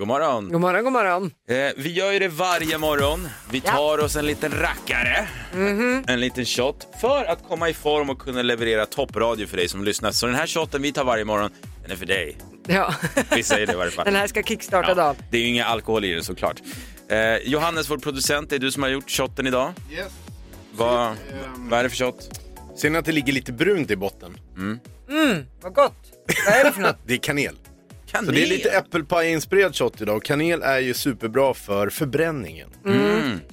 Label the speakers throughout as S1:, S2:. S1: God morgon.
S2: God morgon, god morgon.
S1: Eh, vi gör ju det varje morgon. Vi tar oss en liten rackare,
S2: Mhm.
S1: en liten shot för att komma i form och kunna leverera toppradio för dig som lyssnar. Så den här shoten vi tar varje morgon, den är för dig.
S2: Ja.
S1: Vi säger det i varje fall.
S2: Den här ska kickstarta dagen.
S1: det är ju inga alkohol i den såklart. Eh, Johannes, vår producent, det är du som har gjort shotten idag.
S3: Yes.
S1: Vad,
S3: Ehm.
S1: vad är det för shot?
S3: Ser ni att det ligger lite brunt i botten?
S2: Vad gott. Vad är det för något?
S3: Det är kanel.
S1: Kanel.
S3: Så det är lite äppelpajinspirerad shot idag och kanel är ju superbra för förbränningen.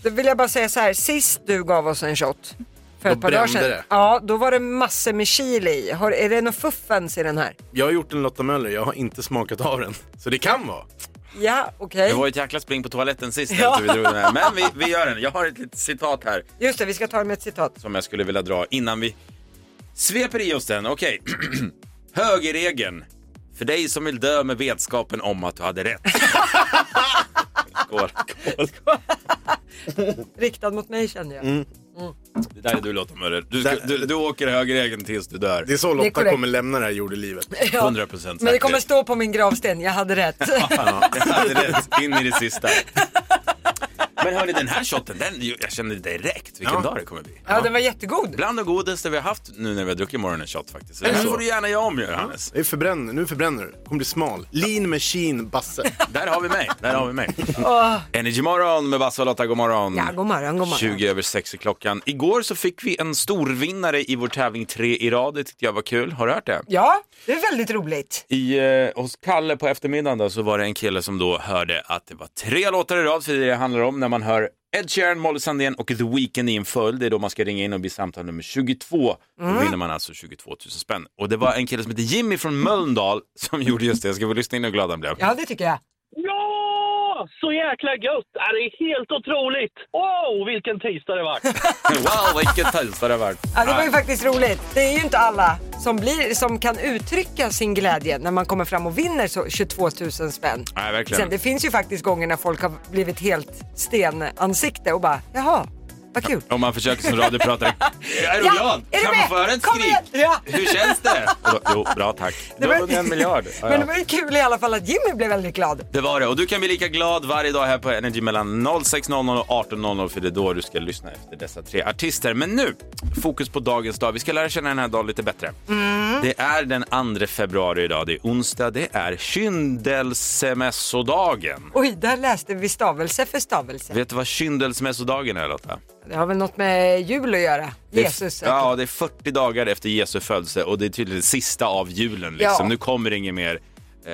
S2: Då vill jag bara säga så här, sist du gav oss en shot för
S3: Då
S2: ett par dagar
S3: brände
S2: sedan.
S3: det.
S2: Ja, då var det massor med chili i. Har, är det någon fuffens i den här?
S3: Jag har gjort en Lotta Möller, jag har inte smakat av den. Så det kan vara.
S2: Ja, okej.
S1: Det var ju ett jäkla spring på toaletten sist
S2: Ja.
S1: efter vi drog den här. Men vi, vi gör den. Jag har ett litet citat här
S2: Just det, vi ska ta det med ett citat.
S1: som jag skulle vilja dra innan vi sveper i oss den. Okej. Högerregeln. För dig som vill dö med vetskapen om att du hade rätt. Skål. Skål.
S2: Riktad mot mig känner jag.
S1: Det där är du Lotta Möller. Du, ska, du, du åker högerregeln tills du dör.
S3: Det är så
S2: Det är
S3: Lotta
S2: korrekt.
S3: kommer lämna det här jordelivet.
S2: Ja.
S1: 100 procent
S2: Men det kommer stå på min gravsten, jag hade rätt.
S1: Ja, jag hade rätt in i det sista. Men hörni, den här shotten, den, jag kände direkt vilken
S3: Ja.
S1: dag det kommer bli.
S2: ja, den var jättegod.
S1: Bland det godaste vi har haft nu när vi har druckit morgonens shot faktiskt. Så det här
S3: så?
S1: får du gärna göra om Johannes.
S3: Det är förbränn, nu förbränner du. Kommer bli smal. Lean machine Basse.
S1: Där har vi mig, där har vi mig.
S2: Åh.
S1: Energy morgon med Basse och Lotta, god morgon.
S2: Ja, god morgon, god morgon.
S1: 20 över 6 i klockan. Igår så fick vi en storvinnare i vår tävling tre i rad, det tyckte jag var kul. Har du hört det?
S2: Ja, det är väldigt roligt.
S1: I, eh, hos Kalle på eftermiddagen då, så var det en kille som då hörde att det var tre låtar i rad, för det är det det handlar om när man hör Ed Sheeran, Molly Sandén och The Weeknd i en följd. Det är då man ska ringa in och bli samtal nummer 22.
S2: Mm.
S1: Då vinner man alltså 22 000 spänn. Och det var en kille som hette Jimmy från Mölndal som gjorde just det. Jag ska få lyssna in hur glad han blev.
S2: Ja, det tycker jag.
S4: Ja! Så jäkla gött! Ja, Det är helt otroligt! Wow, vilken tisdag det var!
S5: Eh,
S1: Wow, vilket tajsare det varit.
S2: Ja, det var ju faktiskt roligt. Det är ju inte alla som, blir, som kan uttrycka sin glädje när man kommer fram och vinner så 22 000 spänn.
S1: Nej, verkligen.
S2: Sen, det finns ju faktiskt gånger när folk har blivit helt stenansikte och bara jaha, vad kul.
S1: Om man försöker som radiopratare. Är du
S2: Ja,
S1: glad?
S2: är du
S1: kan man
S2: med?
S1: få höra ett
S2: Kom
S1: skrik?
S2: igen! Ja.
S1: Hur känns det? Och då, jo, bra tack. Du har vunnit en miljard. Ja,
S2: Men
S1: ja.
S2: det var ju kul i alla fall att Jimmy blev väldigt glad.
S1: Det var det. Och du kan bli lika glad varje dag här på Energy mellan 06.00 och 18.00 för det är då du ska lyssna efter dessa tre artister. Men nu, fokus på dagens dag. Vi ska lära känna den här dagen lite bättre.
S2: Mm.
S1: Det är den 2 februari idag. Det är onsdag. Det är kyndelsmässodagen.
S2: Oj, där läste vi stavelse för stavelse.
S1: Vet du vad kyndelsmässodagen är Lotta?
S2: Det har väl något med jul att göra?
S1: Det är-
S2: Jesus. säkert.
S1: Ja, det är 40 dagar efter Jesu födelse och det är tydligen det sista av julen. Liksom.
S2: Ja.
S1: Nu kommer det inget mer eh,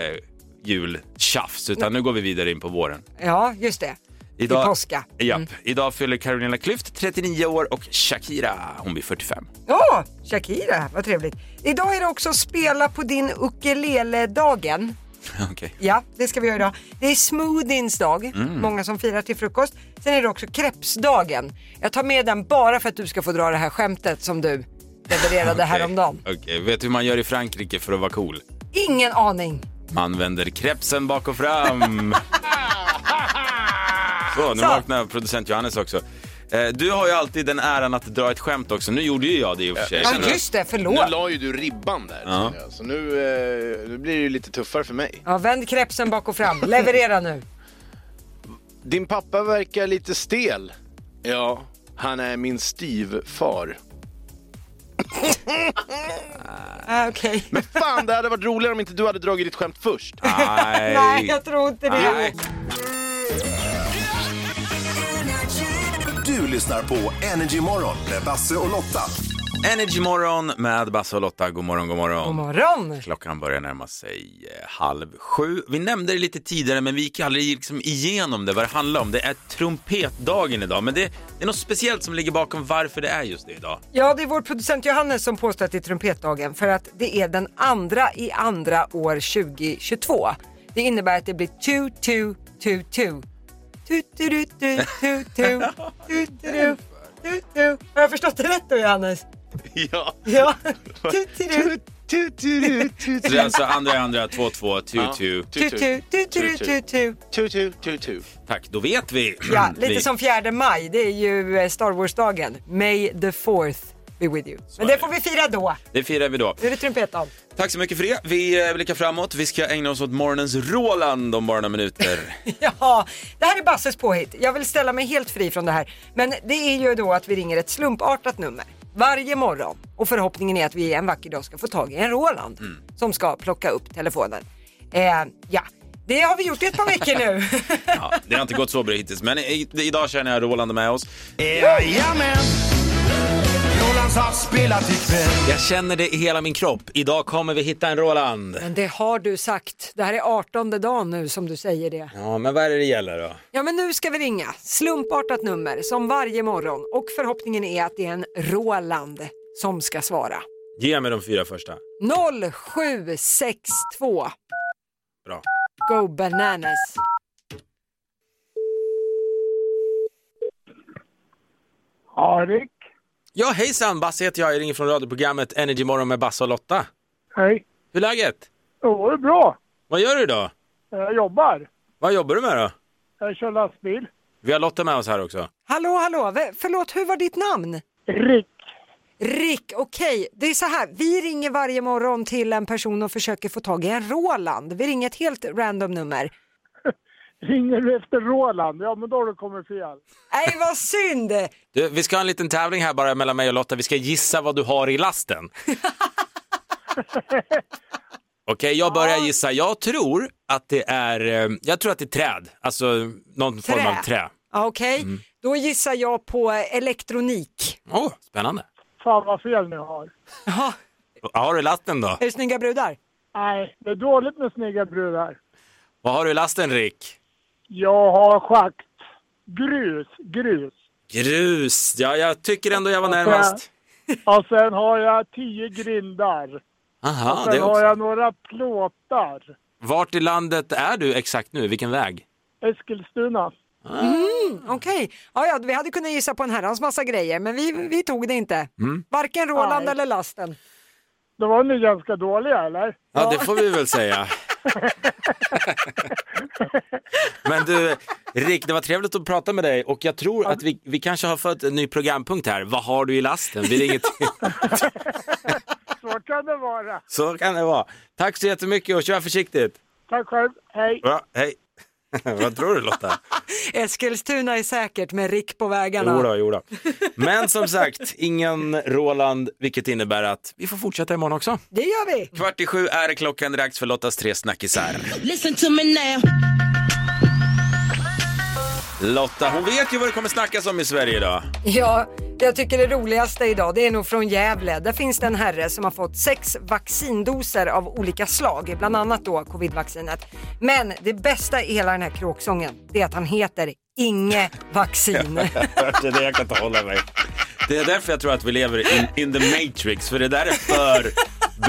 S1: jultjafs utan nu går vi vidare in på våren.
S2: ja, just det. I påska. Mm.
S1: Ja, idag fyller Carolina Klüft 39 år och Shakira, hon blir 45.
S2: Ja, Shakira, vad trevligt. Idag är det också spela på din ukulele-dagen.
S1: Okej.
S2: Ja, det ska vi göra idag. Det är smoothiens dag,
S1: Mm.
S2: många som firar till frukost. Sen är det också krepsdagen. Jag tar med den bara för att du ska få dra det här skämtet som du levererade häromdagen.
S1: Okej, vet du hur man gör i Frankrike för att vara cool?
S2: Ingen aning.
S1: Man vänder krepsen bak och fram. Så, nu
S2: Så.
S1: vaknar producent Johannes också. Eh, Du har ju alltid den äran att dra ett skämt också. Nu gjorde ju jag det i och för sig.
S2: Ja,
S1: Känner du-
S2: just det,
S3: Nu
S2: förlåt.
S3: la ju du ribban där.
S1: Ja.
S3: känner jag. Så nu, eh, nu blir det ju lite tuffare för mig.
S2: Ja, vänd krepsen bak och fram. Leverera nu.
S3: Din pappa verkar lite stel. Ja, han är min styvfar.
S2: Ah, Okej.
S3: Fan, det hade varit roligare om inte du hade dragit ditt skämt först.
S1: Nej.
S2: Nej, jag tror inte det.
S1: Nej.
S6: Du lyssnar på Energy Morgon med Basse och Lotta.
S1: Energy morgon med Basse och Lotta. God morgon, god morgon.
S2: God morgon.
S1: Klockan börjar närma sig eh, halv sju. Vi nämnde det lite tidigare, men vi gick aldrig liksom igenom det, vad det handlar om. Det är trumpetdagen idag, men det, det är något speciellt som ligger bakom varför det är just det idag.
S2: Ja, det är vår producent Johannes som påstår att det är trumpetdagen för att det är den andra i andra år 2022. Det innebär att det blir tu tu tu tu. Tu tu tu tu tu tu tu tu tu tu. Har jag förstått det rätt då Johannes?
S3: Ja.
S2: Ja. Tu tu tu
S1: Så det är alltså andra, andra, två, två, tu,
S3: Ja.
S1: tu.
S2: tu tu tu tu tu tu.
S3: Tutu, tutu.
S1: Tack, då vet vi. Mm,
S2: Ja, lite
S1: Vi-
S2: som fjärde maj. Det är ju eh, Star Wars-dagen. May the fourth be with you. Men det får vi fira då.
S1: Det firar vi då.
S2: Nu är det trumpetdagen.
S1: Tack så mycket för det. Vi eh, blickar framåt. Vi ska ägna oss åt morgonens Roland om bara några minuter.
S2: Ja, det här är Basses påhitt. Jag vill ställa mig helt fri från det här. Men det är ju då att vi ringer ett slumpartat nummer varje morgon och förhoppningen är att vi en vacker dag ska få tag i en Roland som ska plocka upp telefonen. Eh, ja, det har vi gjort i ett par veckor nu.
S1: Ja, det har inte gått så bra hittills, men i, idag känner jag Roland är med oss.
S7: Jajamän! Rolands havsspelat ikväll.
S1: Jag känner det i hela min kropp. Idag kommer vi hitta en Roland.
S2: Men det har du sagt. Det här är 18 dagen nu som du säger det.
S1: Ja, men vad är det det gäller då?
S2: Ja men nu ska vi ringa. Slumpartat nummer som varje morgon och förhoppningen är att det är en Roland som ska svara.
S1: Ge mig de fyra första.
S2: 0762
S1: Bra.
S2: Go bananas.
S8: Arik,
S1: Ja, hejsan! Basse heter jag. Jag ringer från radioprogrammet Energy Morgon med Basse och Lotta.
S8: hej.
S1: Hur är läget?
S8: Jo, det är bra.
S1: Vad gör du idag?
S8: Jag jobbar.
S1: Vad jobbar du med då?
S8: Jag kör lastbil.
S1: Vi har Lotta med oss här också.
S2: Hallå, hallå, V- förlåt, hur var ditt namn?
S8: Rick,
S2: Rick, okej, det är så här, vi ringer varje morgon till en person och försöker få tag i en Roland. Vi ringer ett helt random nummer.
S8: ringer du efter Roland? Ja, men då har du kommit fel.
S2: Nej, vad synd!
S1: Du, vi ska ha en liten tävling här bara mellan mig och Lotta. Vi ska gissa vad du har i lasten. Okej, jag börjar gissa. Jag tror att det är, eh, jag tror att det är träd. Alltså någon form av trä.
S2: Ja, Okej, då gissar jag på elektronik.
S1: Åh, spännande.
S8: Fan vad fel ni har.
S2: Jaha,
S1: Vad har du i lasten då?
S2: är det snygga brudar?
S8: Nej, det är dåligt med snygga brudar.
S1: Vad har du i lasten Rick?
S8: Jag har schakt. Grus, grus.
S1: Grus. Ja, jag tycker ändå jag var närmast.
S8: Och sen har jag tio grindar.
S1: Aha, det
S8: Sen har
S1: också.
S8: jag några plåtar.
S1: Vart i landet är du exakt nu? Vilken väg?
S8: Eskilstuna.
S2: Okej, ja, ja, vi hade kunnat gissa på en herrans massa grejer, men vi, vi tog det inte. Varken Roland
S8: Nej.
S2: eller lasten.
S8: Då var ni ganska dåliga, eller?
S1: Ja, det får vi väl säga. Men du, Rick, det var trevligt att prata med dig och jag tror att vi, vi kanske har fått en ny programpunkt här. Vad har du i lasten? Vi ringer till.
S8: Så kan det vara.
S1: Så kan det vara. Tack så jättemycket och kör försiktigt.
S8: Tack själv. Hej.
S1: Bra, hej. Vad tror du Lotta?
S2: Eskilstuna är säkert med Rick på vägarna.
S1: Jodå, jodå. Men som sagt, ingen Roland, vilket innebär att vi får fortsätta imorgon också.
S2: Det gör vi!
S1: Kvart i sju är klockan, det är dags för Lottas tre snackisar.
S9: Listen to me now.
S1: Lotta, hon vet ju vad det kommer snackas om i Sverige idag.
S2: Ja, jag tycker det roligaste idag det är nog från Gävle. Där finns det en herre som har fått sex vaccindoser av olika slag, bland annat då covidvaccinet. Men det bästa i hela den här kråksången, det är att han heter Inge Vaccin.
S1: Det är det jag kan inte hålla mig. Det är därför jag tror att vi lever in, in the matrix, för det där är för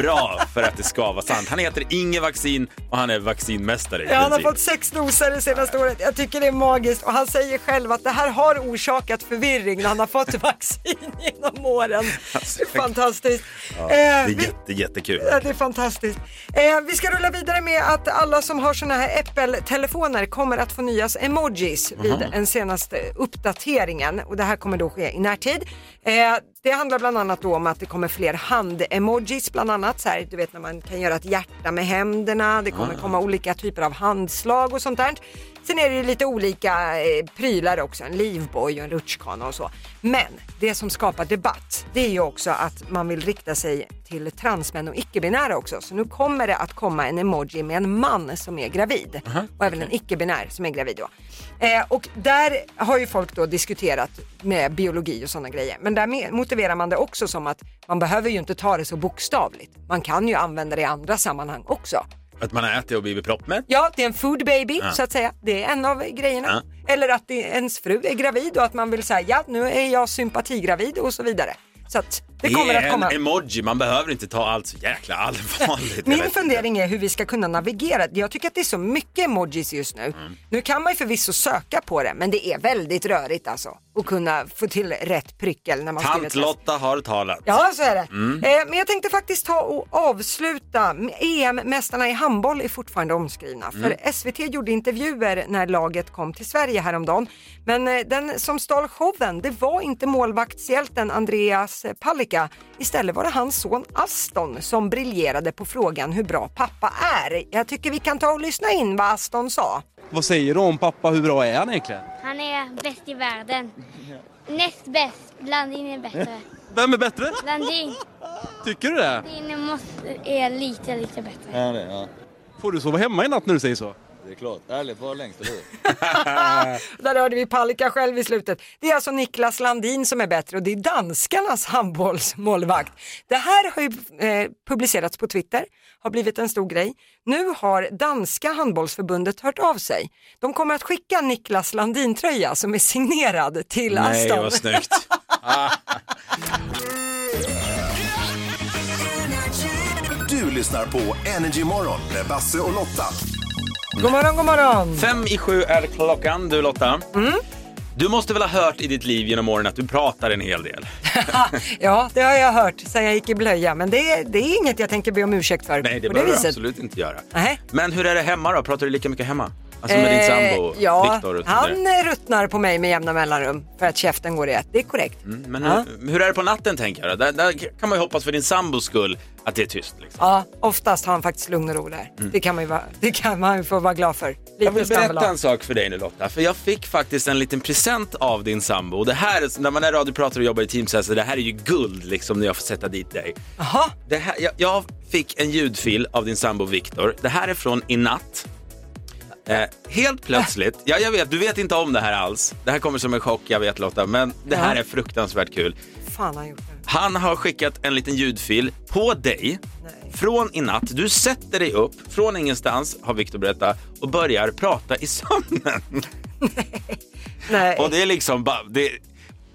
S1: bra för att det ska vara sant. Han heter Inge Vaccin och han är vaccinmästare i
S2: Ja, han har
S1: princip.
S2: fått sex doser det senaste året. Jag tycker det är magiskt och han säger själv att det här har orsakat förvirring när han har fått vaccin genom åren. Det är fantastiskt. Eh, det
S1: Det är jätte, jättekul.
S2: Ja, det är fantastiskt. Eh, vi ska rulla vidare med att alla som har såna här Apple-telefoner kommer att få nyas emojis vid den senaste uppdateringen. Och det här kommer då ske i närtid. Eh, det handlar bland annat då om att det kommer fler hand-emojis, bland annat så här, du vet när man kan göra ett hjärta med händerna, det kommer komma olika typer av handslag och sånt där. Sen är det ju lite olika eh, prylar också, en livboj och en rutschkana och så. Men det som skapar debatt, det är ju också att man vill rikta sig till transmän och icke-binära också. Så nu kommer det att komma en emoji med en man som är gravid och även en icke-binär som är gravid då. Eh, och där har ju folk då diskuterat med biologi och sådana grejer. Men där me- motiverar man det också som att man behöver ju inte ta det så bokstavligt. Man kan ju använda det i andra sammanhang också.
S1: Att man har ätit och blivit proppmätt.
S2: Ja, det är en food baby så att säga. Det är en av grejerna. Eller att det, ens fru är gravid och att man vill säga ja, nu är jag sympatigravid och så vidare. Så att det kommer
S1: är
S2: att komma.
S1: en emoji, man behöver inte ta allt så jäkla allvarligt.
S2: Min fundering är hur vi ska kunna navigera. Jag tycker att det är så mycket emojis just nu.
S1: Mm.
S2: Nu kan man ju förvisso söka på det, men det är väldigt rörigt alltså. Att kunna få till rätt prickar när man skriver ett sms.
S1: Tant-Lotta har talat.
S2: Ja, så är det. Eh, men jag tänkte faktiskt ta och avsluta. EM-mästarna i handboll är fortfarande omskrivna. För SVT gjorde intervjuer när laget kom till Sverige häromdagen. Men eh, den som stal showen, det var inte målvaktshjälten Andreas Palicka. Istället var det hans son Aston som briljerade på frågan hur bra pappa är. Jag tycker vi kan ta och lyssna in vad Aston sa.
S9: Vad säger du om pappa? Hur bra är han egentligen?
S10: Han är bäst i världen. Näst bäst. Blandin är bättre.
S9: Vem är bättre?
S10: Blandin
S9: Tycker du det?
S10: din måste, är lite, lite bättre.
S11: Ja, det, ja.
S9: Får du sova hemma i natt när du säger så?
S11: det är klart. Ärligt, var längst, eller hur?
S2: Där hörde vi Palicka själv i slutet. Det är alltså Niklas Landin som är bättre och det är danskarnas handbollsmålvakt. Det här har ju eh, publicerats på Twitter, har blivit en stor grej. Nu har danska handbollsförbundet hört av sig. De kommer att skicka Niklas Landin-tröja som är signerad till
S1: Nej,
S2: Aston.
S1: vad snyggt.
S6: Du lyssnar på Energy Morgon med Basse och Lotta.
S2: God morgon, god morgon!
S1: Fem i sju är klockan, du Lotta.
S2: Mm.
S1: Du måste väl ha hört i ditt liv genom åren att du pratar en hel del?
S2: Ja, det har jag hört sedan jag gick i blöja, men det är, det är inget jag tänker be om ursäkt för
S1: Nej, det
S2: på det
S1: behöver du
S2: viset.
S1: absolut inte göra.
S2: Nej.
S1: Men hur är det hemma då? Pratar du lika mycket hemma? Alltså med din
S2: Eh,
S1: sambo,
S2: ja,
S1: Viktor och sånt
S2: han
S1: där.
S2: eh, ruttnar på mig med jämna mellanrum för att käften går i ett. Det är korrekt.
S1: Men hur, hur är det på natten tänker jag? då? Där, där kan man ju hoppas för din sambos skull att det är tyst. Liksom.
S2: Ja, oftast har han faktiskt lugn och ro där.
S1: Mm.
S2: Det, kan man ju vara, det kan man ju få vara glad för. Lite
S1: Jag vill berätta
S2: stambolag.
S1: en sak för dig nu Lotta, för jag fick faktiskt en liten present av din sambo. Och Det här, är- när man är radiopratare och jobbar i Teams här, så det här är ju guld liksom när jag får sätta dit dig.
S2: Jaha,
S1: Det här, jag, jag fick en ljudfil av din sambo Viktor. Det här är från i natt. Eh, helt plötsligt, ja jag vet, du vet inte om det här alls. Det här kommer som en chock, jag vet Lotta, men det här
S2: Ja.
S1: är fruktansvärt kul.
S2: fan har han gjort nu?
S1: Han har skickat en liten ljudfil på dig
S2: Nej.
S1: från i natt. Du sätter dig upp från ingenstans, har Viktor berättat, och börjar prata i sömnen.
S2: Nej.
S1: Och det är liksom bara, det,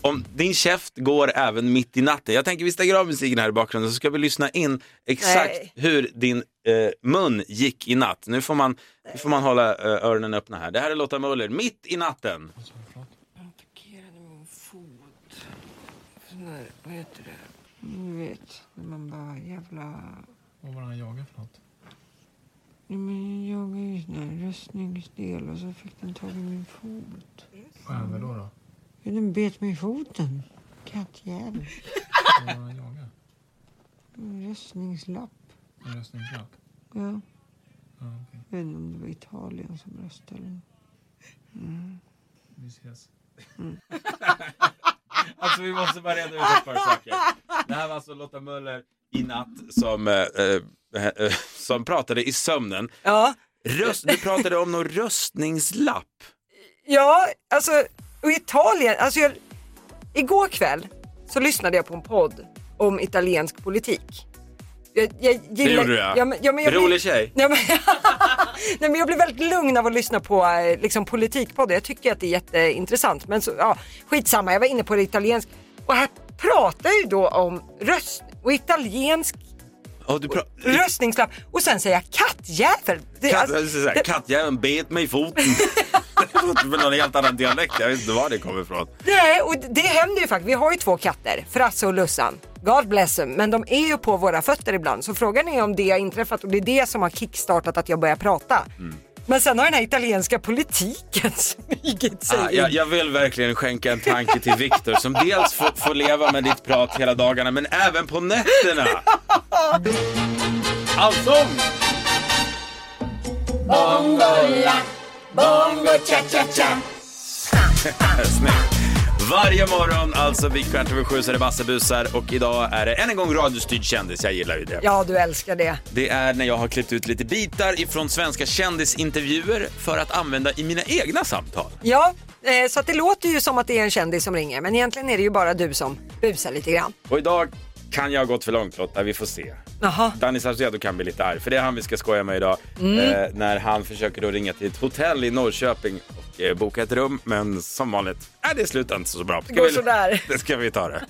S1: om din käft går även mitt i natten. Jag tänker vi stänger av musiken här i bakgrunden så ska vi lyssna in exakt
S2: Nej.
S1: hur din eh, mun gick i natt. Nu får man, nu får man hålla eh, öronen öppna här. Det här är Lotta Möller, Mitt i natten.
S12: attackerade min fot. Sån där, vad heter det? Ni vet, när man bara jävla...
S7: Vad var han jagade för något?
S12: Nej, men jag jagade ju sån där röstningsdel och så fick den tag i min fot.
S7: Vad hände då? då?
S12: Ja, Den bet mig i foten. Kattjävel.
S7: Vad var han jagade?
S12: En röstningslapp.
S7: En röstningslapp?
S12: Ja.
S7: Ja, okej.
S12: Jag vet inte om det var Italien som röstade. eller nåt.
S7: Vi ses.
S1: Alltså vi måste bara reda ut ett par saker. Det här var alltså Lotta Möller i natt som, eh, eh, eh, som pratade i sömnen.
S2: Ja,
S1: Röst, du pratade om någon röstningslapp.
S2: ja, alltså, och Italien, alltså jag, igår kväll så lyssnade jag på en podd om italiensk politik. Jag, jag gillar,
S1: gjorde du, ja.
S2: men, ja, men jag
S1: Rolig
S2: blir-
S1: tjej.
S2: Ja, men, nej, men jag blir väldigt lugn av att lyssna på eh, liksom, politikpoddar. Jag tycker att det är jätteintressant. Men så, ja, skitsamma, jag var inne på det italiensk. Och här pratar ju då om röst och italiensk
S1: Och du pra-
S2: röstningslapp. Och sen säger jag kattjävel. Det,
S1: Katt,
S2: alltså,
S1: alltså, såhär,
S2: det-
S1: Kattjäveln bet mig i foten. Med någon helt annan dialekt. Jag vet inte var det kommer ifrån.
S2: Nej, och det händer ju faktiskt. Vi har ju två katter, Frasse och Lussan. God bless them. Men de är ju på våra fötter ibland. Så frågan är om det har inträffat och det är det som har kickstartat att jag börjar prata. Men sen har den här italienska politiken smugit sig
S1: Ah,
S2: in.
S1: jag, jag vill verkligen skänka en tanke till Viktor som dels får, får leva med ditt prat hela dagarna men även på nätterna.
S2: Alltså.
S1: Allsång! Snyggt. Varje morgon, alltså vid kvart över sju, så är det Bassebusar och idag är det än en gång radiostyrd kändis. Jag gillar ju det.
S2: Ja, du älskar det.
S1: Det är när jag har klippt ut lite bitar ifrån svenska kändisintervjuer för att använda i mina egna samtal.
S2: Ja, eh, så att det låter ju som att det är en kändis som ringer. Men egentligen är det ju bara du som busar lite grann.
S1: Och idag kan jag ha gått för långt Lotta, vi får se.
S2: Jaha.
S1: Danny Saucedo kan bli lite arg, för det är han vi ska skoja med idag.
S2: Mm.
S1: Eh, när han försöker då ringa till ett hotell i Norrköping och eh, boka ett rum, men som vanligt, äh, det slutar inte så bra. Ska
S2: går
S1: vi-
S2: sådär.
S1: Det ska vi ta det.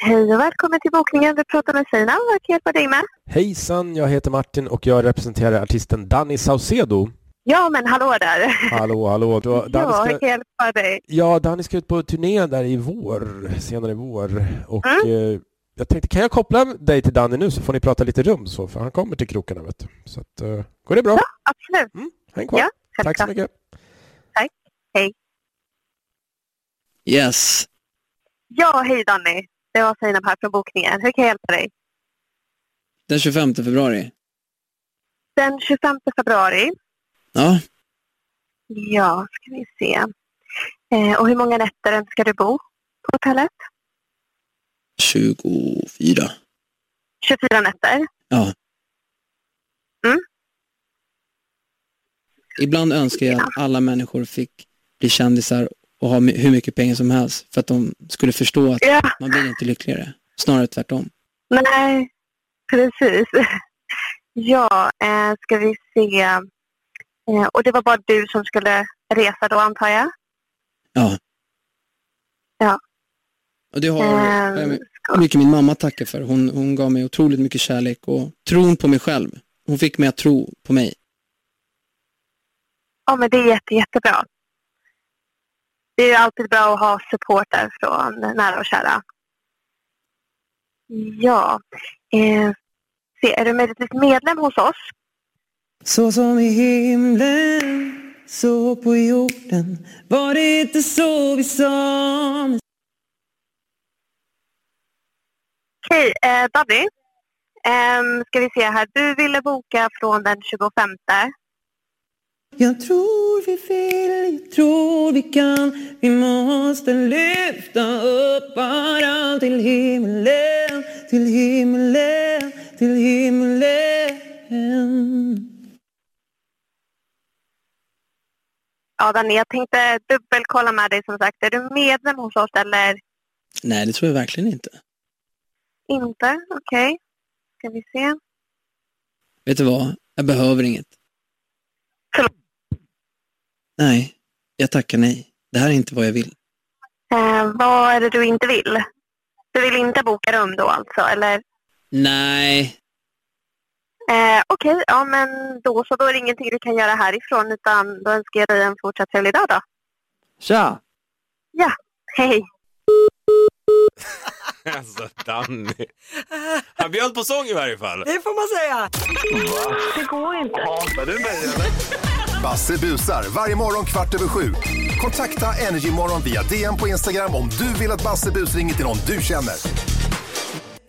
S10: Hej och välkommen till bokningen. Du pratar med Sina. Vad kan jag hjälpa dig med?
S9: Hejsan, jag heter Martin och jag representerar artisten Danny Saucedo.
S10: Ja, men hallå där.
S9: Hallå, hallå. Du, har- Danny
S10: Ja,
S9: ska...
S10: jag kan hjälpa dig.
S9: Ja, Danny ska ut på turné där i vår, senare i vår. Och eh, jag tänkte, kan jag koppla dig till Danny nu så får ni prata lite rum så, för han kommer till krokarna vet du. Så att, eh, går det bra? Ja.
S10: Absolut.
S9: Mm, Häng kvar.
S10: Ja,
S9: Tack så
S10: självklart.
S9: mycket.
S13: Yes.
S14: Ja, hej Danny. Det var Zainab här från bokningen. Hur kan jag hjälpa dig?
S13: Den 25 februari.
S14: Den 25 februari.
S13: Ja.
S14: Ja, ska vi se. Eh, och hur många nätter önskar du bo på hotellet?
S13: 24.
S14: 24 nätter.
S13: Ja.
S14: Mm.
S13: Ibland önskar jag att alla människor fick bli kändisar och ha my- hur mycket pengar som helst för att de skulle förstå att
S14: Ja.
S13: man blir inte lyckligare. Snarare tvärtom.
S14: Nej, precis. Ja, eh, ska vi se. Eh, och det var bara du som skulle resa då antar jag?
S13: Ja.
S14: Ja.
S13: Och det har
S14: Ehm,
S13: eh, mycket min mamma att tacka för. Hon, hon gav mig otroligt mycket kärlek och tron på mig själv. Hon fick mig att tro på mig.
S14: Ja, men det är jätte, jättebra. Det är ju alltid bra att ha support där från nära och kära. Ja. Eh, se, är du möjligtvis medlem hos oss?
S15: Så som i himlen, så på jorden var det inte så vi sa.
S14: Okej, eh, Danny. Ehm, ska vi se här. Du ville boka från den 25.
S15: Jag tror vi vill, jag tror vi kan. Vi måste lyfta upp varann till himlen, till himlen, till himlen.
S14: Ja, Danny, jag tänkte dubbelkolla med dig som sagt. Är du medlem hos oss eller
S13: Nej, det tror jag verkligen inte.
S14: inte? Okej. Ska vi se.
S13: Vet du vad? Jag behöver inget. Nej, jag tackar nej. Det här är inte vad jag vill.
S14: Eh, vad är det du inte vill? Du vill inte boka rum då alltså, eller?
S13: Nej,
S14: Eh, Okej, ja men då så. Då är det ingenting du kan göra härifrån utan då önskar jag dig en fortsatt trevlig dag då.
S15: Tja!
S14: Ja, hej.
S1: Alltså Danny. Han bjöd på sång i varje fall.
S2: Det får man säga.
S14: Det går inte.
S6: Hatar du mig Basse busar varje morgon kvart över sju. Kontakta Energymorgon via DM på Instagram om du vill att Basse bus ringer till någon du känner.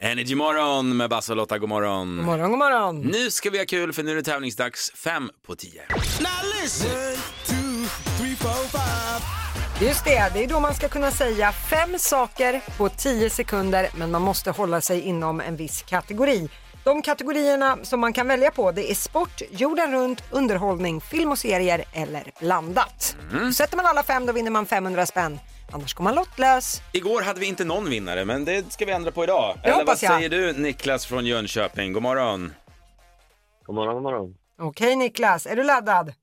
S1: Energy morgon med Basse och Lotta, god morgon.
S2: God morgon, god morgon.
S1: Nu ska vi ha kul för nu är det tävlingsdags fem på tio.
S2: Just det, det är då man ska kunna säga fem saker på tio sekunder men man måste hålla sig inom en viss kategori. De kategorierna som man kan välja på det är sport, jorden runt, underhållning, film och serier eller blandat. Sätter man alla fem då vinner man 500 spänn. Annars går man lottlös.
S1: Igår hade vi inte någon vinnare, men det ska vi ändra på idag.
S2: Det
S1: Eller vad
S2: hoppas jag.
S1: säger du Niklas från Jönköping? God morgon. God morgon, god morgon.
S2: Okej Niklas, är du laddad?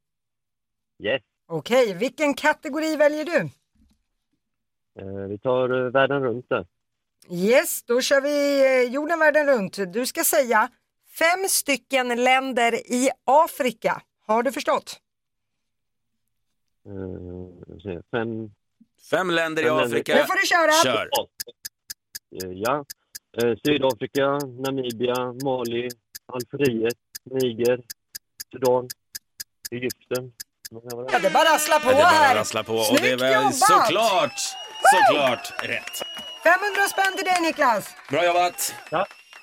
S5: Yes.
S2: Okej, vilken kategori väljer du?
S5: Eh, Vi tar eh, världen runt då.
S2: Yes, då kör vi eh, jorden världen runt. Du ska säga fem stycken länder i Afrika. Har du förstått?
S5: Eh, se, Fem...
S1: Fem länder
S5: i
S1: Afrika.
S2: Nu får du köra. Kör.
S5: Eh, Ja. Eh, Sydafrika, Namibia, Mali, Algeriet, Niger, Sudan, Egypten.
S2: Ja, det bara rasslar på
S1: det bara
S2: här.
S1: rasslar på och
S2: Snyggt
S1: det är väl
S2: jobbat!
S1: såklart, såklart rätt.
S2: 500 spänn till dig Niklas!
S1: Bra jobbat!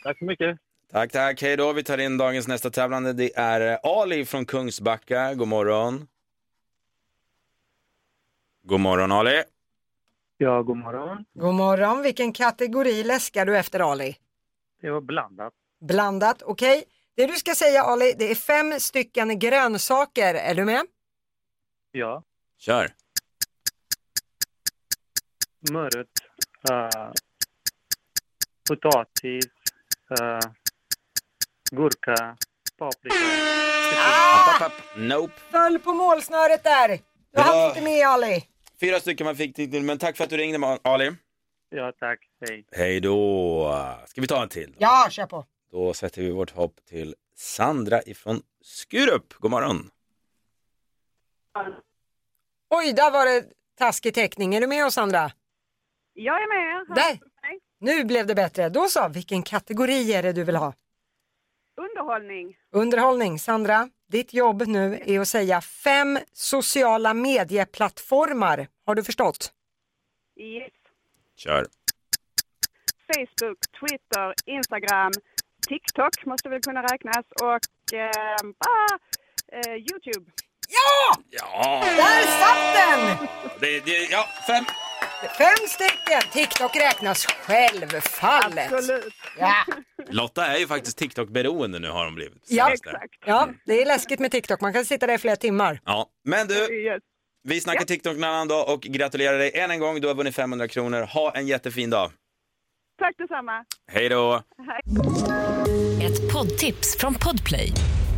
S1: tack så mycket. Tack, tack. Hej då. Vi tar in dagens nästa tävlande. Det är eh, Ali från Kungsbacka. God morgon. God morgon, Ali.
S16: Ja, god morgon.
S2: God morgon, vilken kategori läskar du efter Ali?
S16: Det var blandat.
S2: Blandat, okej. Det du ska säga Ali, det är fem stycken grönsaker. Är du med?
S16: Ja.
S1: Kör.
S16: Mörut. eh, potatis. eh, gurka. Paprika.
S2: Ah!
S1: App, app, app. Nope.
S2: Föll på målsnöret där. Du
S1: Ja.
S2: hann inte med Ali.
S1: Fyra stycken man fick till, men tack för att du ringde, Ma- Ali.
S16: Ja, tack. Hej.
S1: Hej då. Ska vi ta en till?
S2: Ja, kör på.
S1: Då sätter vi vårt hopp till Sandra ifrån Skurup. God morgon.
S2: Oj, där var det taskig täckning. Är du med oss Sandra?
S17: Jag är med.
S2: Där! Nu blev det bättre. Då så, vilken kategori är det du vill ha?
S17: Underhållning.
S2: Underhållning. Sandra, ditt jobb nu är att säga fem sociala medieplattformar. Har du förstått?
S17: Yes.
S1: Kör.
S17: Facebook, Twitter, Instagram, TikTok måste väl kunna räknas och eh, ah, eh, Youtube.
S2: Ja!
S1: Ja,
S2: Där satt den!
S1: det, det, ja fem.
S2: Fem stycken! TikTok räknas självfallet.
S17: Absolut.
S2: Ja,
S1: Lotta är ju faktiskt TikTok-beroende nu har hon blivit.
S2: ja.
S1: Senaste.
S2: ja, det är läskigt med TikTok. Man kan sitta där i flera timmar.
S1: Ja, men du. Vi snackar TikTok en annan dag och gratulerar dig än en gång. Du har vunnit 500 kronor. Ha en jättefin dag.
S17: Tack detsamma.
S1: Hej då!
S18: Ett poddtips från Podplay.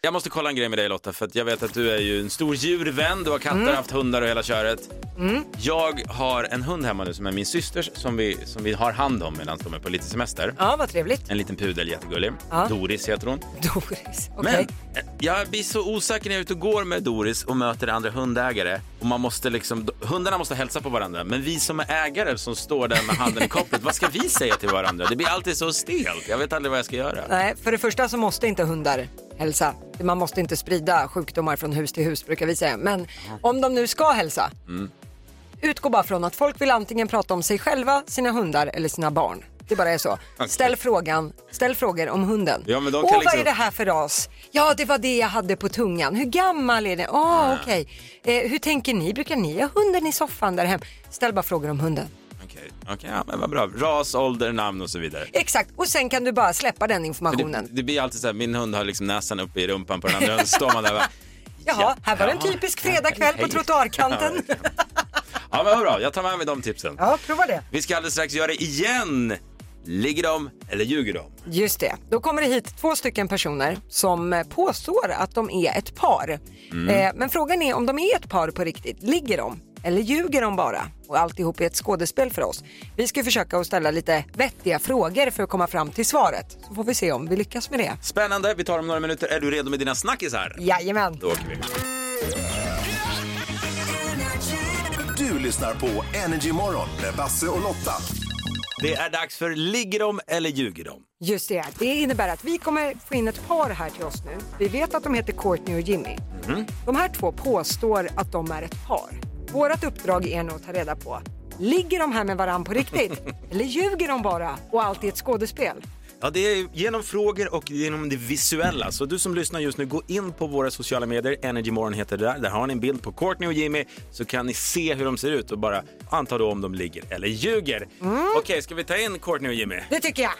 S1: Jag måste kolla en grej med dig Lotta, för att jag vet att du är ju en stor djurvän. Du har katter,
S18: Mm.
S1: haft hundar och hela köret.
S2: Mm.
S1: Jag har en hund hemma nu som är min systers som vi, som vi har hand om medan de är på lite semester.
S2: Ja, vad trevligt.
S1: En liten pudel, jättegullig.
S2: Ja.
S1: Doris heter hon.
S2: Doris, okej.
S1: Men eh, jag blir så osäker när jag är ute och går med Doris och möter andra hundägare. Och man måste liksom, hundarna måste hälsa på varandra, men vi som är ägare som står där med handen i kopplet, vad ska vi säga till varandra? Det blir alltid så stelt. Jag vet aldrig vad jag ska göra.
S2: Nej, för det första så måste inte hundar hälsa. Man måste inte sprida sjukdomar från hus till hus brukar vi säga. Men om de nu ska hälsa,
S1: Mm.
S2: utgå bara från att folk vill antingen prata om sig själva, sina hundar eller sina barn. Det bara är så.
S1: Okej.
S2: Ställ, frågan, ställ frågor om hunden.
S1: Ja, men de
S2: Åh,
S1: kan
S2: vad
S1: liksom-
S2: är det här för ras? Ja, det var det jag hade på tungan. Hur gammal är den? Åh,
S1: Ja.
S2: okej. Eh, hur tänker ni? Brukar ni ha hunden i soffan där hem? Ställ bara frågor om hunden.
S1: Okej, okej, ja, men vad bra. Ras, ålder, namn och så vidare.
S2: Exakt, och sen kan du bara släppa den
S1: För
S2: informationen.
S1: Det, det blir alltid så här, min hund har liksom näsan uppe i rumpan på den andra, så står man där och bara,
S2: Jaha, här var det en
S1: Ja.
S2: typisk fredagkväll på
S1: Hej.
S2: trottoarkanten.
S1: ja men vad bra, jag tar med mig de tipsen.
S2: Ja, prova det.
S1: Vi ska alldeles strax göra det igen. Ligger de eller ljuger de?
S2: Just det. Då kommer det hit två stycken personer som eh, påstår att de är ett par.
S1: Mm.
S2: Eh, men frågan är om de är ett par på riktigt. Ligger de? Eller ljuger de bara? Och alltihop är ett skådespel för oss. Vi ska försöka att ställa lite vettiga frågor för att komma fram till svaret. Så får vi se om vi lyckas med det.
S1: Spännande, vi tar om några minuter. Är du redo med dina snackisar?
S2: Jajamän.
S1: Då åker vi.
S6: Du lyssnar på Energy Morgon med Basse och Lotta.
S1: Det är dags för ligger de eller ljuger de?
S2: Just det. Det innebär att vi kommer få in ett par här till oss nu. Vi vet att de heter Courtney och Jimmy.
S1: Mm.
S2: De här två påstår att de är ett par. Vårt uppdrag är nu att ta reda på, ligger de här med varandra på riktigt? Eller ljuger de bara och allt är ett skådespel?
S1: Ja, det är genom frågor och genom det visuella. Så du som lyssnar just nu, gå in på våra sociala medier. Energymorgon heter det där. Där har ni en bild på Courtney och Jimmy så kan ni se hur de ser ut och bara anta då om de ligger eller ljuger. Okej, ska vi ta in Courtney och Jimmy?
S2: Det tycker jag.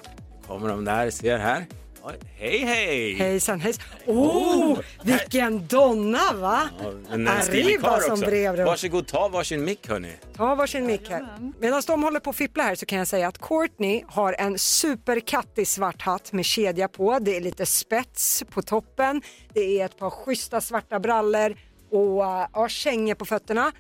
S1: Kommer de där, ser här. Oj, Hej, hej!
S2: Hejsan hejsan. Åh, oh, vilken donna va?
S1: Ja, en, en stilig
S2: Arriba
S1: karl
S2: som
S1: också.
S2: brevrum.
S1: Varsågod, ta varsin mick hörni.
S2: Ta varsin mick här. Medan de håller på och fipplar här så kan jag säga att Courtney har en superkattig svart hatt med kedja på. Det är lite spets på toppen. Det är ett par schyssta svarta brallor och äh, ja, kängor på fötterna.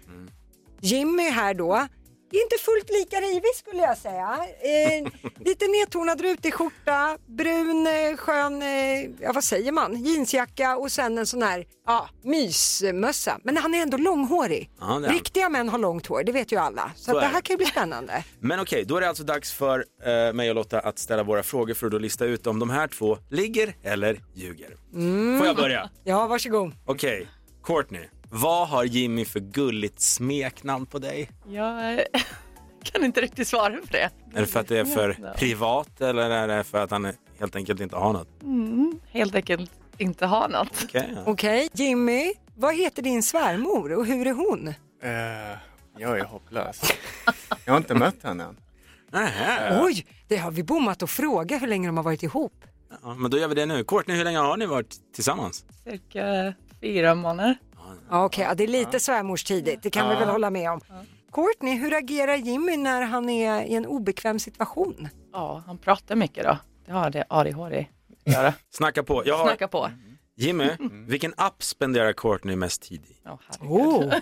S2: Jimmy här då. Inte fullt lika rivig skulle jag säga. Eh, lite nedtonad rutig skjorta, brun eh, skön, eh, ja vad säger man, jeansjacka och sen en sån här ja, mysmössa. Men han är ändå långhårig.
S1: Ja, det är han.
S2: Riktiga män har långt hår, det vet ju alla. Så,
S1: Så
S2: att det
S1: är
S2: här
S1: det.
S2: kan ju bli spännande.
S1: Men okej, då är det alltså dags för eh, mig och Lotta att ställa våra frågor för att då lista ut om de här två ligger eller ljuger.
S2: Mm.
S1: Får jag börja?
S2: Ja, varsågod.
S1: Okej, Courtney. Vad har Jimmy för gulligt smeknamn på dig?
S19: Jag eh, kan inte riktigt svara på det.
S1: Är det för att det är för
S19: smeknamn.
S1: privat eller är det för att han helt enkelt inte har något?
S19: Mm, helt enkelt inte ha något.
S1: Okej.
S2: Okej, Jimmy, vad heter din svärmor och hur är hon?
S20: Eh, jag är hopplös. Jag har inte mött henne än. Eh,
S2: Oj, det har vi bommat att fråga hur länge de har varit ihop.
S1: Ja, men då gör vi det nu. Courtney, hur länge har ni varit tillsammans?
S2: Cirka fyra månader. Ja, Okej, ja, det är lite svärmorstidigt, det kan vi
S1: Ja.
S2: väl hålla med om. Courtney, hur agerar Jimmy när han är i en obekväm situation?
S19: Ja, han pratar mycket då. Det har det ADHD.
S1: Göra. Snacka på. Jag har...
S19: Snacka på.
S1: Jimmy, vilken app spenderar Courtney mest tid i?
S2: Oh,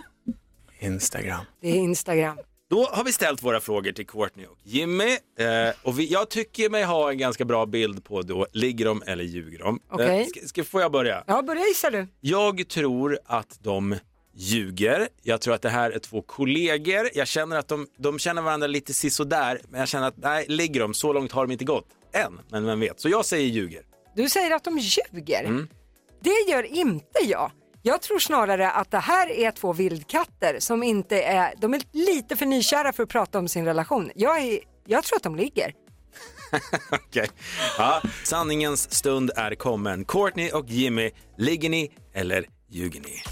S20: Instagram.
S2: det är Instagram.
S1: Då har vi ställt våra frågor till Courtney och Jimmy. Eh, och vi, jag tycker mig ha en ganska bra bild på då, ligger de eller ljuger de? Eh,
S2: Okej.
S1: ska, ska, får jag börja?
S2: Ja, börja gissa du.
S1: Jag tror att de ljuger. Jag tror att det här är två kollegor. Jag känner att de, de känner varandra lite sisådär, men jag känner att nej, ligger de? Så långt har de inte gått. Än, men vem vet. Så jag säger ljuger.
S2: Du säger att de ljuger.
S1: Mm.
S2: Det gör inte jag. Jag tror snarare att det här är två vildkatter som inte är, de är lite för nykära för att prata om sin relation. Jag, är, jag tror att de ligger.
S1: Okej. Ja, sanningens stund är kommen. Courtney och Jimmy, ligger ni eller ljuger ni?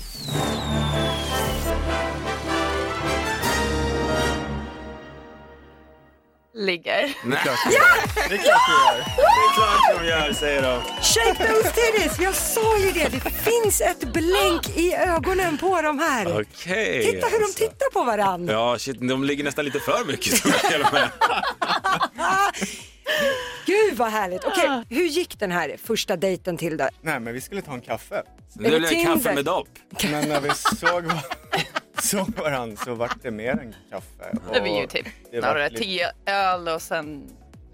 S19: Ligger.
S1: Nej.
S20: Det är klart du gör.
S1: Det är klart de gör, säger de.
S2: Shake those titties! Jag sa ju det, det finns ett blänk i ögonen på de här.
S1: Okej.
S2: Titta hur de
S1: alltså.
S2: tittar på varandra.
S1: Ja, shit, de ligger nästan lite för mycket. tror jag till och med.
S2: Gud vad härligt. Okej, hur gick den här första dejten till då?
S20: Nej, men vi skulle ta en kaffe.
S2: Så nu Är det blev det Tinder? kaffe med
S1: dopp.
S20: Men när vi såg, var- såg varandra så vart det mer än kaffe.
S19: Det blir ju typ
S20: det vart
S19: några
S20: lite-
S19: tio öl och sen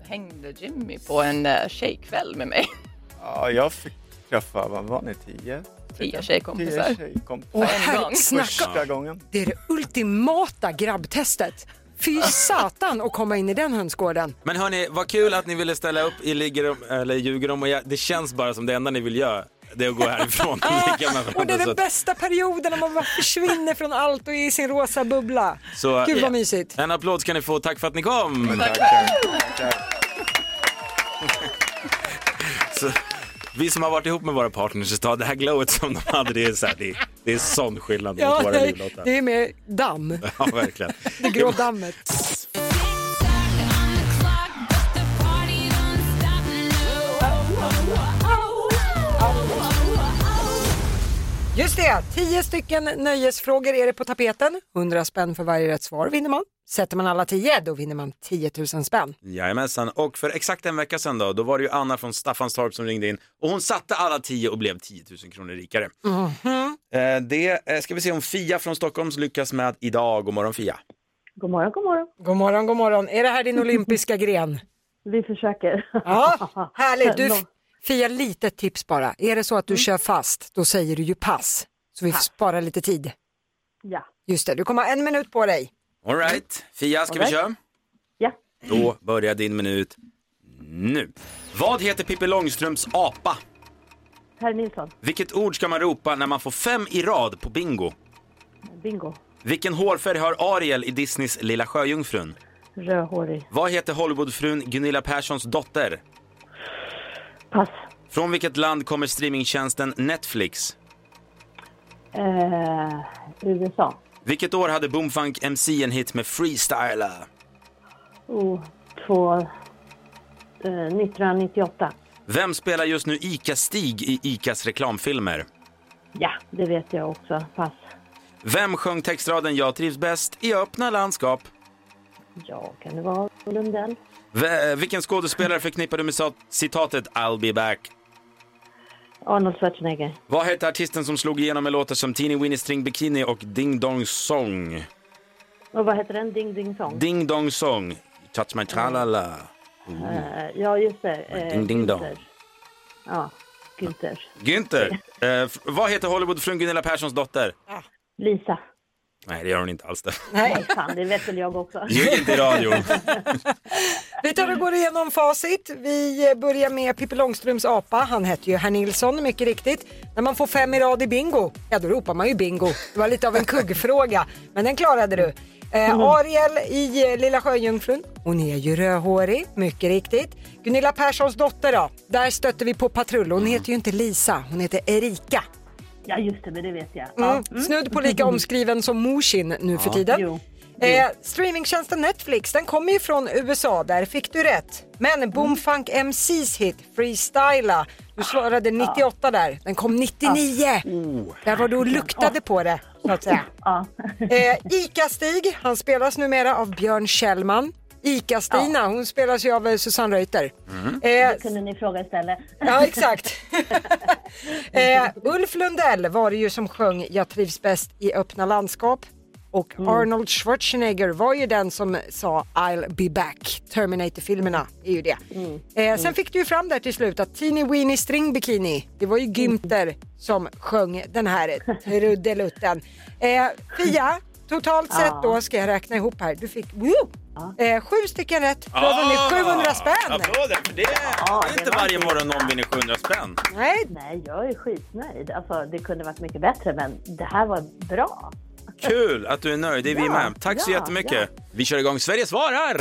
S19: hängde Jimmy på en eh, tjejkväll med mig.
S20: Ja, jag fick träffa, vad var ni, tio?
S19: Tio tjejkompisar.
S20: Tio tjejkompisar.
S2: Åh, herre-
S20: Första
S2: snacka.
S20: gången.
S2: Det är det ultimata grabbtestet. Fy satan att komma in i den hönsgården.
S1: Men hörni, vad kul att ni ville ställa upp i Ligger de eller ljuger de? Och jag, det känns bara som det enda ni vill göra, det är att gå härifrån. och ligga med varandra.
S2: Och det
S1: Så
S2: är den
S1: att-
S2: bästa perioden när man bara försvinner från allt och är i sin rosa bubbla.
S1: Så, eh,
S2: Gud vad mysigt.
S1: En applåd ska ni få. Tack för att ni kom. Så, vi som har varit ihop med våra partners ett tag, det här glowet som de hade, det är, så här, det, det är sån skillnad mot
S2: Ja,
S1: våra
S2: nej,
S1: livlottar.
S2: det är mer damm.
S1: Ja, verkligen.
S2: Det grå dammet. Just det, 10 stycken nöjesfrågor är det på tapeten. 100 spänn för varje rätt svar vinner man. Sätter man alla 10 då vinner man 10 000 spänn.
S1: Jajamensan, och för exakt en vecka sedan då, då var det ju Anna från Staffanstorp som ringde in och hon satte alla 10 och blev 10 000 kronor rikare.
S3: Mhm.
S1: Eh, Det eh, ska vi se om Fia från Stockholm lyckas med idag. God morgon Fia.
S3: God morgon, god morgon.
S2: God morgon, god morgon. Är det här din olympiska gren?
S3: Vi försöker.
S2: Ja, härligt. Du,
S3: Nå-
S2: Fia, lite tips bara. Är det så att du kör fast, då säger du ju pass. Så vi sparar lite tid.
S3: Ja.
S2: Just det, du kommer ha en minut på dig.
S1: All right, Fia ska vi
S2: All right.
S1: köra?
S3: Ja.
S1: Då börjar din minut nu. Vad heter Pippi Långstrumps apa?
S3: Per Nilsson,
S1: Vilket ord ska man ropa när man får fem i rad på bingo?
S3: bingo.
S1: Vilken hårfärg har Ariel i Disneys Lilla Sjöjungfrun?
S3: Rödhårig,
S1: Vad heter Hollywoodfrun Gunilla Perssons dotter?
S3: pass.
S1: Från vilket land kommer streamingtjänsten Netflix?
S3: Eh, USA.
S1: Vilket år hade Boomfunk MC en hit med Freestyler?
S3: Oh, två, eh, 1998.
S1: Vem spelar just nu ICA-Stig i ICAs reklamfilmer?
S3: Ja, det vet jag också. Pass.
S1: Vem sjöng textraden “Jag trivs bäst i öppna landskap”?
S3: Ja, kan det vara Lundell?
S1: V- eh, vilken skådespelare förknippar du med sa- citatet “I'll be back”?
S3: Arnold Schwarzenegger.
S1: Vad hette artisten som slog igenom med låtar som “Teeny Weeny String Bikini” och “Ding Dong Song”?
S3: Och vad heter den? Ding Ding Song?
S1: “Ding Dong Song”, “Touch My Tralala”.
S3: Eh, ja, just det. Eh,
S1: Ding Ding Dong.
S3: Günther. Ja, Günther.
S1: Günther, eh, f- vad heter Hollywoodfrun Gunilla Perssons dotter?
S3: Lisa.
S1: Nej, det gör hon inte alls. Det.
S3: Nej, fan, det vet väl jag också.
S1: Ljug inte i radion.
S2: Vi tar och går igenom facit. Vi eh, börjar med Pippi Långstrumps apa. Han hette ju Herr Nilsson, mycket riktigt. När man får fem i rad i bingo, ja då ropar man ju bingo. Det var lite av en kuggfråga, men den klarade du. Eh, Ariel i eh, Lilla Sjöjungfrun, hon är ju rödhårig, mycket riktigt. Gunilla Perssons dotter då, där stötte vi på patrull. Hon heter ju inte Lisa, hon heter Erika.
S3: Ja, just det, men det vet jag. Ja.
S2: Mm. Snudd på lika omskriven som Morsin nu för
S3: Ja.
S2: tiden.
S3: Jo.
S2: Eh, streamingtjänsten Netflix, den kommer ju från USA, där fick du rätt.
S3: Mm.
S2: Men Boomfunk MCs hit Freestyla,
S3: Ah.
S2: du svarade 98 där, den kom 99.
S3: Oh.
S2: Där var du och luktade på det, så att säga.
S3: Ah.
S2: Eh, Ica-Stig, han spelas numera av Björn Kjellman. Ica-Stina, hon spelas ju av eh, Susanne Reuter.
S3: Mm.
S2: Eh,
S3: Det kunde ni fråga istället.
S2: Ja, exakt. eh, Ulf Lundell var det ju som sjöng Jag trivs bäst i öppna landskap. Och Arnold Schwarzenegger var ju den som sa I'll be back. Terminator-filmerna är ju det. Eh, sen fick du ju fram där till slut att Teeny Weeny String Bikini, det var ju Günther som sjöng den här trudelutten. Eh, Fia, totalt sett då ska jag räkna ihop här. Du fick woo, eh, sju stycken rätt.
S1: Ah.
S2: Du har vunnit 700 spänn.
S1: Applåder för det! det är inte varje morgon någon vinner 700 spänn.
S2: Nej.
S3: Nej, jag är skitnöjd. Alltså, det kunde varit mycket bättre, men det här var bra.
S1: Kul att du är nöjd, det är vi
S3: Ja,
S1: med. Tack så
S3: ja,
S1: jättemycket. Vi kör igång Sverige svarar!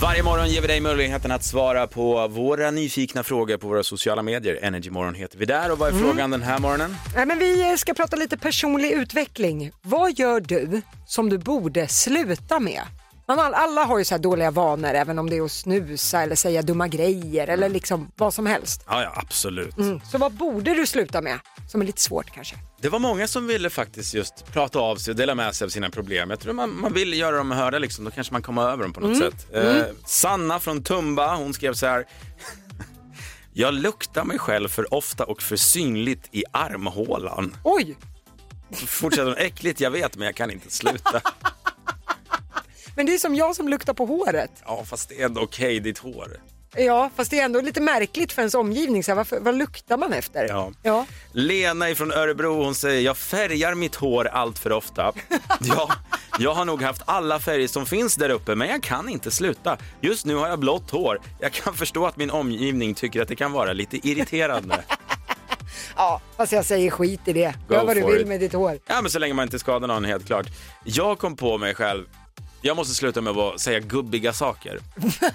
S1: Varje morgon ger vi dig möjligheten att svara på våra nyfikna frågor på våra sociala medier. Energymorgon heter vi där och vad är
S2: Mm.
S1: frågan den här morgonen?
S2: Nej, men vi eh, ska prata lite personlig utveckling. Vad gör du som du borde sluta med? Man all, alla har ju så här dåliga vanor, även om det är att snusa eller säga dumma grejer eller
S1: Mm.
S2: liksom vad som helst.
S1: Ja, ja absolut.
S2: Mm. Så vad borde du sluta med? Som är lite svårt kanske.
S1: Det var många som ville faktiskt just prata av sig och dela med sig av sina problem. Jag tror man, man vill göra dem hörda liksom, då kanske man kommer över dem på något
S2: Mm.
S1: sätt.
S2: Mm.
S1: Eh, Sanna från Tumba, hon skrev så här. Jag luktar mig själv för ofta och för synligt i armhålan.
S2: Oj!
S1: Fortsätter hon, äckligt jag vet men jag kan inte sluta.
S2: Men det är som jag som luktar på håret.
S1: Ja fast det är ändå okej ditt hår.
S2: Ja, fast det är ändå lite märkligt för ens omgivning. Så här, varför, vad luktar man efter?
S1: Ja.
S2: Ja.
S1: Lena från Örebro hon säger jag färgar mitt hår allt för ofta. Ja, jag har nog haft alla färger som finns där uppe men jag kan inte sluta. Just nu har jag blått hår. Jag kan förstå att min omgivning tycker att det kan vara lite irriterande.
S2: ja, fast jag säger skit i det.
S1: Go
S2: Gör vad du
S1: for
S2: vill
S1: it.
S2: med ditt hår.
S1: Ja men så länge man inte skadar någon helt klart. Jag kom på mig själv, jag måste sluta med att säga gubbiga saker. Jag-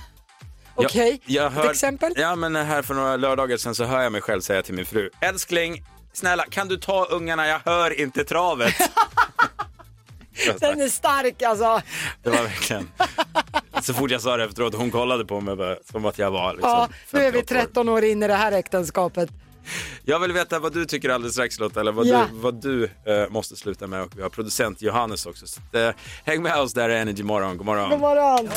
S2: Okej,
S1: jag
S2: ett
S1: hör-
S2: exempel?
S1: Ja, men här för några lördagar sedan så hör jag mig själv säga till min fru, älskling, snälla kan du ta ungarna, jag hör inte travet.
S2: Den är stark alltså.
S1: det var verkligen, så fort jag sa det efteråt, hon kollade på mig bara, som att jag var liksom.
S2: Ja, nu är vi
S1: 58 år.
S2: 13 år in i det här äktenskapet.
S1: Jag vill veta vad du tycker alldeles strax Lotta, eller vad
S2: Ja.
S1: du, vad du eh, måste sluta med och vi har producent Johannes också. Så, att, eh, häng med oss, där är Energy Morgon, god morgon.
S2: God morgon!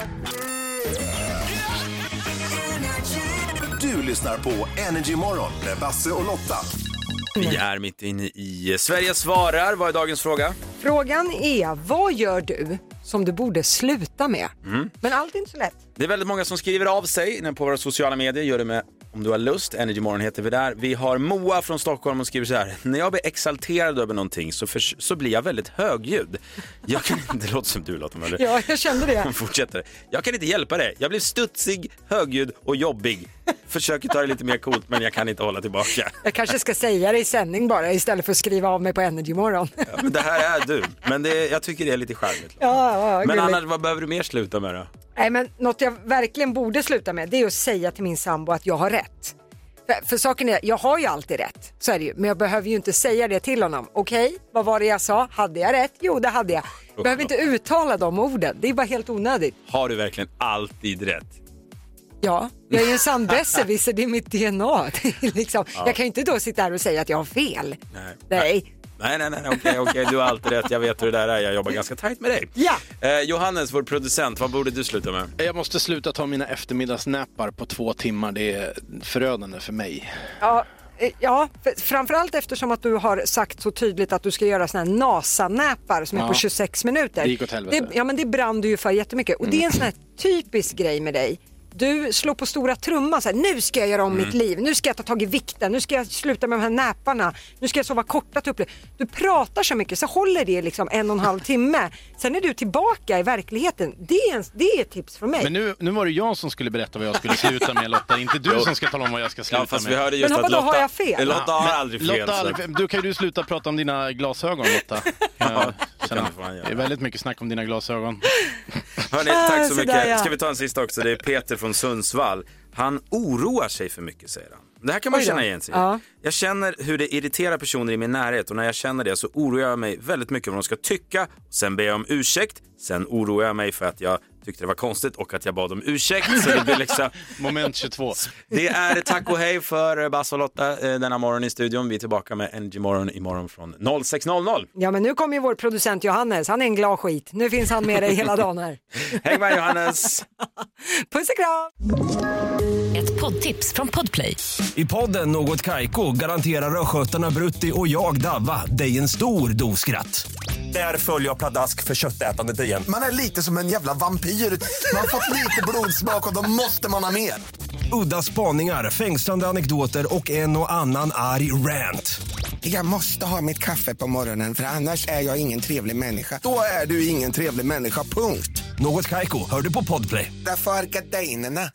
S6: Du lyssnar på Energy Morgon med Basse och Lotta.
S1: Vi är mitt inne i eh, Sverige svarar, vad är dagens fråga?
S2: Frågan är, vad gör du som du borde sluta med?
S1: Mm.
S2: Men allt är inte så lätt.
S1: Det är väldigt många som skriver av sig inne på våra sociala medier. Gör det med om du har lust. Energy Morgon heter vi där. Vi har Moa från Stockholm och skriver så här. När jag blir exalterad över någonting så, förs- så blir jag väldigt högljudd. Jag kan inte... Det låter som du Lotta Möller.
S2: Ja, jag kände det.
S1: Hon fortsätter. Jag kan inte hjälpa det. Jag blir studsig, högljudd och jobbig. Försöker ta det lite mer coolt men jag kan inte hålla tillbaka.
S2: Jag kanske ska säga det i sändning bara istället för att skriva av mig på Energymorgon. Ja,
S1: Men det här är du. Men det, jag tycker det är lite charmigt.
S2: ja, ja,
S1: Men
S2: gulligt.
S1: annars, vad behöver du mer sluta med då?
S2: Nej, men något jag verkligen borde sluta med det är att säga till min sambo att jag har rätt. För, för saken är, jag har ju alltid rätt, så är det ju. Men jag behöver ju inte säga det till honom. Okej, vad var det jag sa? Hade jag rätt? Jo, det hade jag. Behöver inte uttala de orden, det är bara helt onödigt.
S1: Har du verkligen alltid rätt?
S2: Ja, jag är ju en sann besserwisser, det är mitt DNA. Det är liksom,
S1: Ja.
S2: Jag kan ju inte då sitta här och säga att jag har fel.
S1: Nej.
S2: Nej.
S1: Nej, nej, nej, nej, okej, okej, du har alltid rätt. Jag vet hur det där är. Jag jobbar ganska tajt med dig.
S2: Ja.
S1: Eh, Johannes, vår producent, vad borde du sluta med?
S4: Jag måste sluta ta mina eftermiddagsnäppar på två timmar. Det är förödande för mig.
S2: Ja, eh, ja för, framförallt eftersom att du har sagt så tydligt att du ska göra såna här NASA-näpar som är
S4: Ja.
S2: på 26 minuter.
S4: Det gick åt helvete. Mm.
S2: Det, ja, men det brann du ju för jättemycket och det är en sån här typisk grej med dig. Du slår på stora trumman så här, nu ska jag göra om
S8: Mm.
S2: mitt liv, nu ska jag ta tag i vikten, nu ska jag sluta med de här näparna, nu ska jag sova korta tupplurar. Du pratar så mycket så håller det liksom en och en halv timme. Sen är du tillbaka i verkligheten. Det är, en, det är ett tips från mig.
S4: Men nu, nu var det jag som skulle berätta vad jag skulle sluta med Lotta, inte du som ska tala om vad jag ska sluta
S1: Ja, fast
S4: med.
S1: vi hörde just Men att vadå, Lotta- har jag fel? Lotta
S4: Ja,
S1: har
S4: men
S1: aldrig fel,
S4: Lotta,
S1: så-
S4: aldrig- du kan ju du sluta prata om dina glasögon Lotta. Ja, känner- det är väldigt mycket snack om dina glasögon.
S1: Hörni,
S4: Ah,
S1: tack så
S4: så
S1: mycket.
S4: där, ja.
S1: Ska vi ta en sista också? Det är Peter från Sundsvall. Han oroar sig för mycket, säger han. Det här kan man
S2: Oj
S1: ju
S2: då.
S1: känna igen sig i.
S2: Ja.
S1: Jag känner hur det irriterar personer i min närhet och när jag känner det så oroar jag mig väldigt mycket vad de ska tycka. Sen ber jag om ursäkt. Sen oroar jag mig för att jag tyckte det var konstigt och att jag bad om ursäkt. Så det blir liksom...
S4: Moment 22.
S1: Det är tack och hej för Bass och Lotta eh, denna morgon i studion. Vi är tillbaka med Energy Morgon imorgon från 06.00.
S2: Ja men nu kommer ju vår producent Johannes, han är en glad skit. Nu finns han med dig hela dagen här.
S1: Häng med Johannes!
S2: Puss och kram!
S18: Ett
S21: poddtips från Podplay.
S6: I podden Något Kaiko garanterar östgötarna Brutti och jag, Davva, dig en stor dos skratt. Där följer jag pladask för köttätandet igen.
S22: Man är lite som en jävla vampyr. Man har fått lite blodsmak och då måste man ha mer.
S6: Udda spaningar, fängslande anekdoter och en och annan arg rant.
S23: Jag måste ha mitt kaffe på morgonen för annars är jag ingen trevlig människa.
S22: Då är du ingen trevlig människa, punkt.
S6: Något Kaiko, hör du på Podplay.
S23: Därför är gardinerna.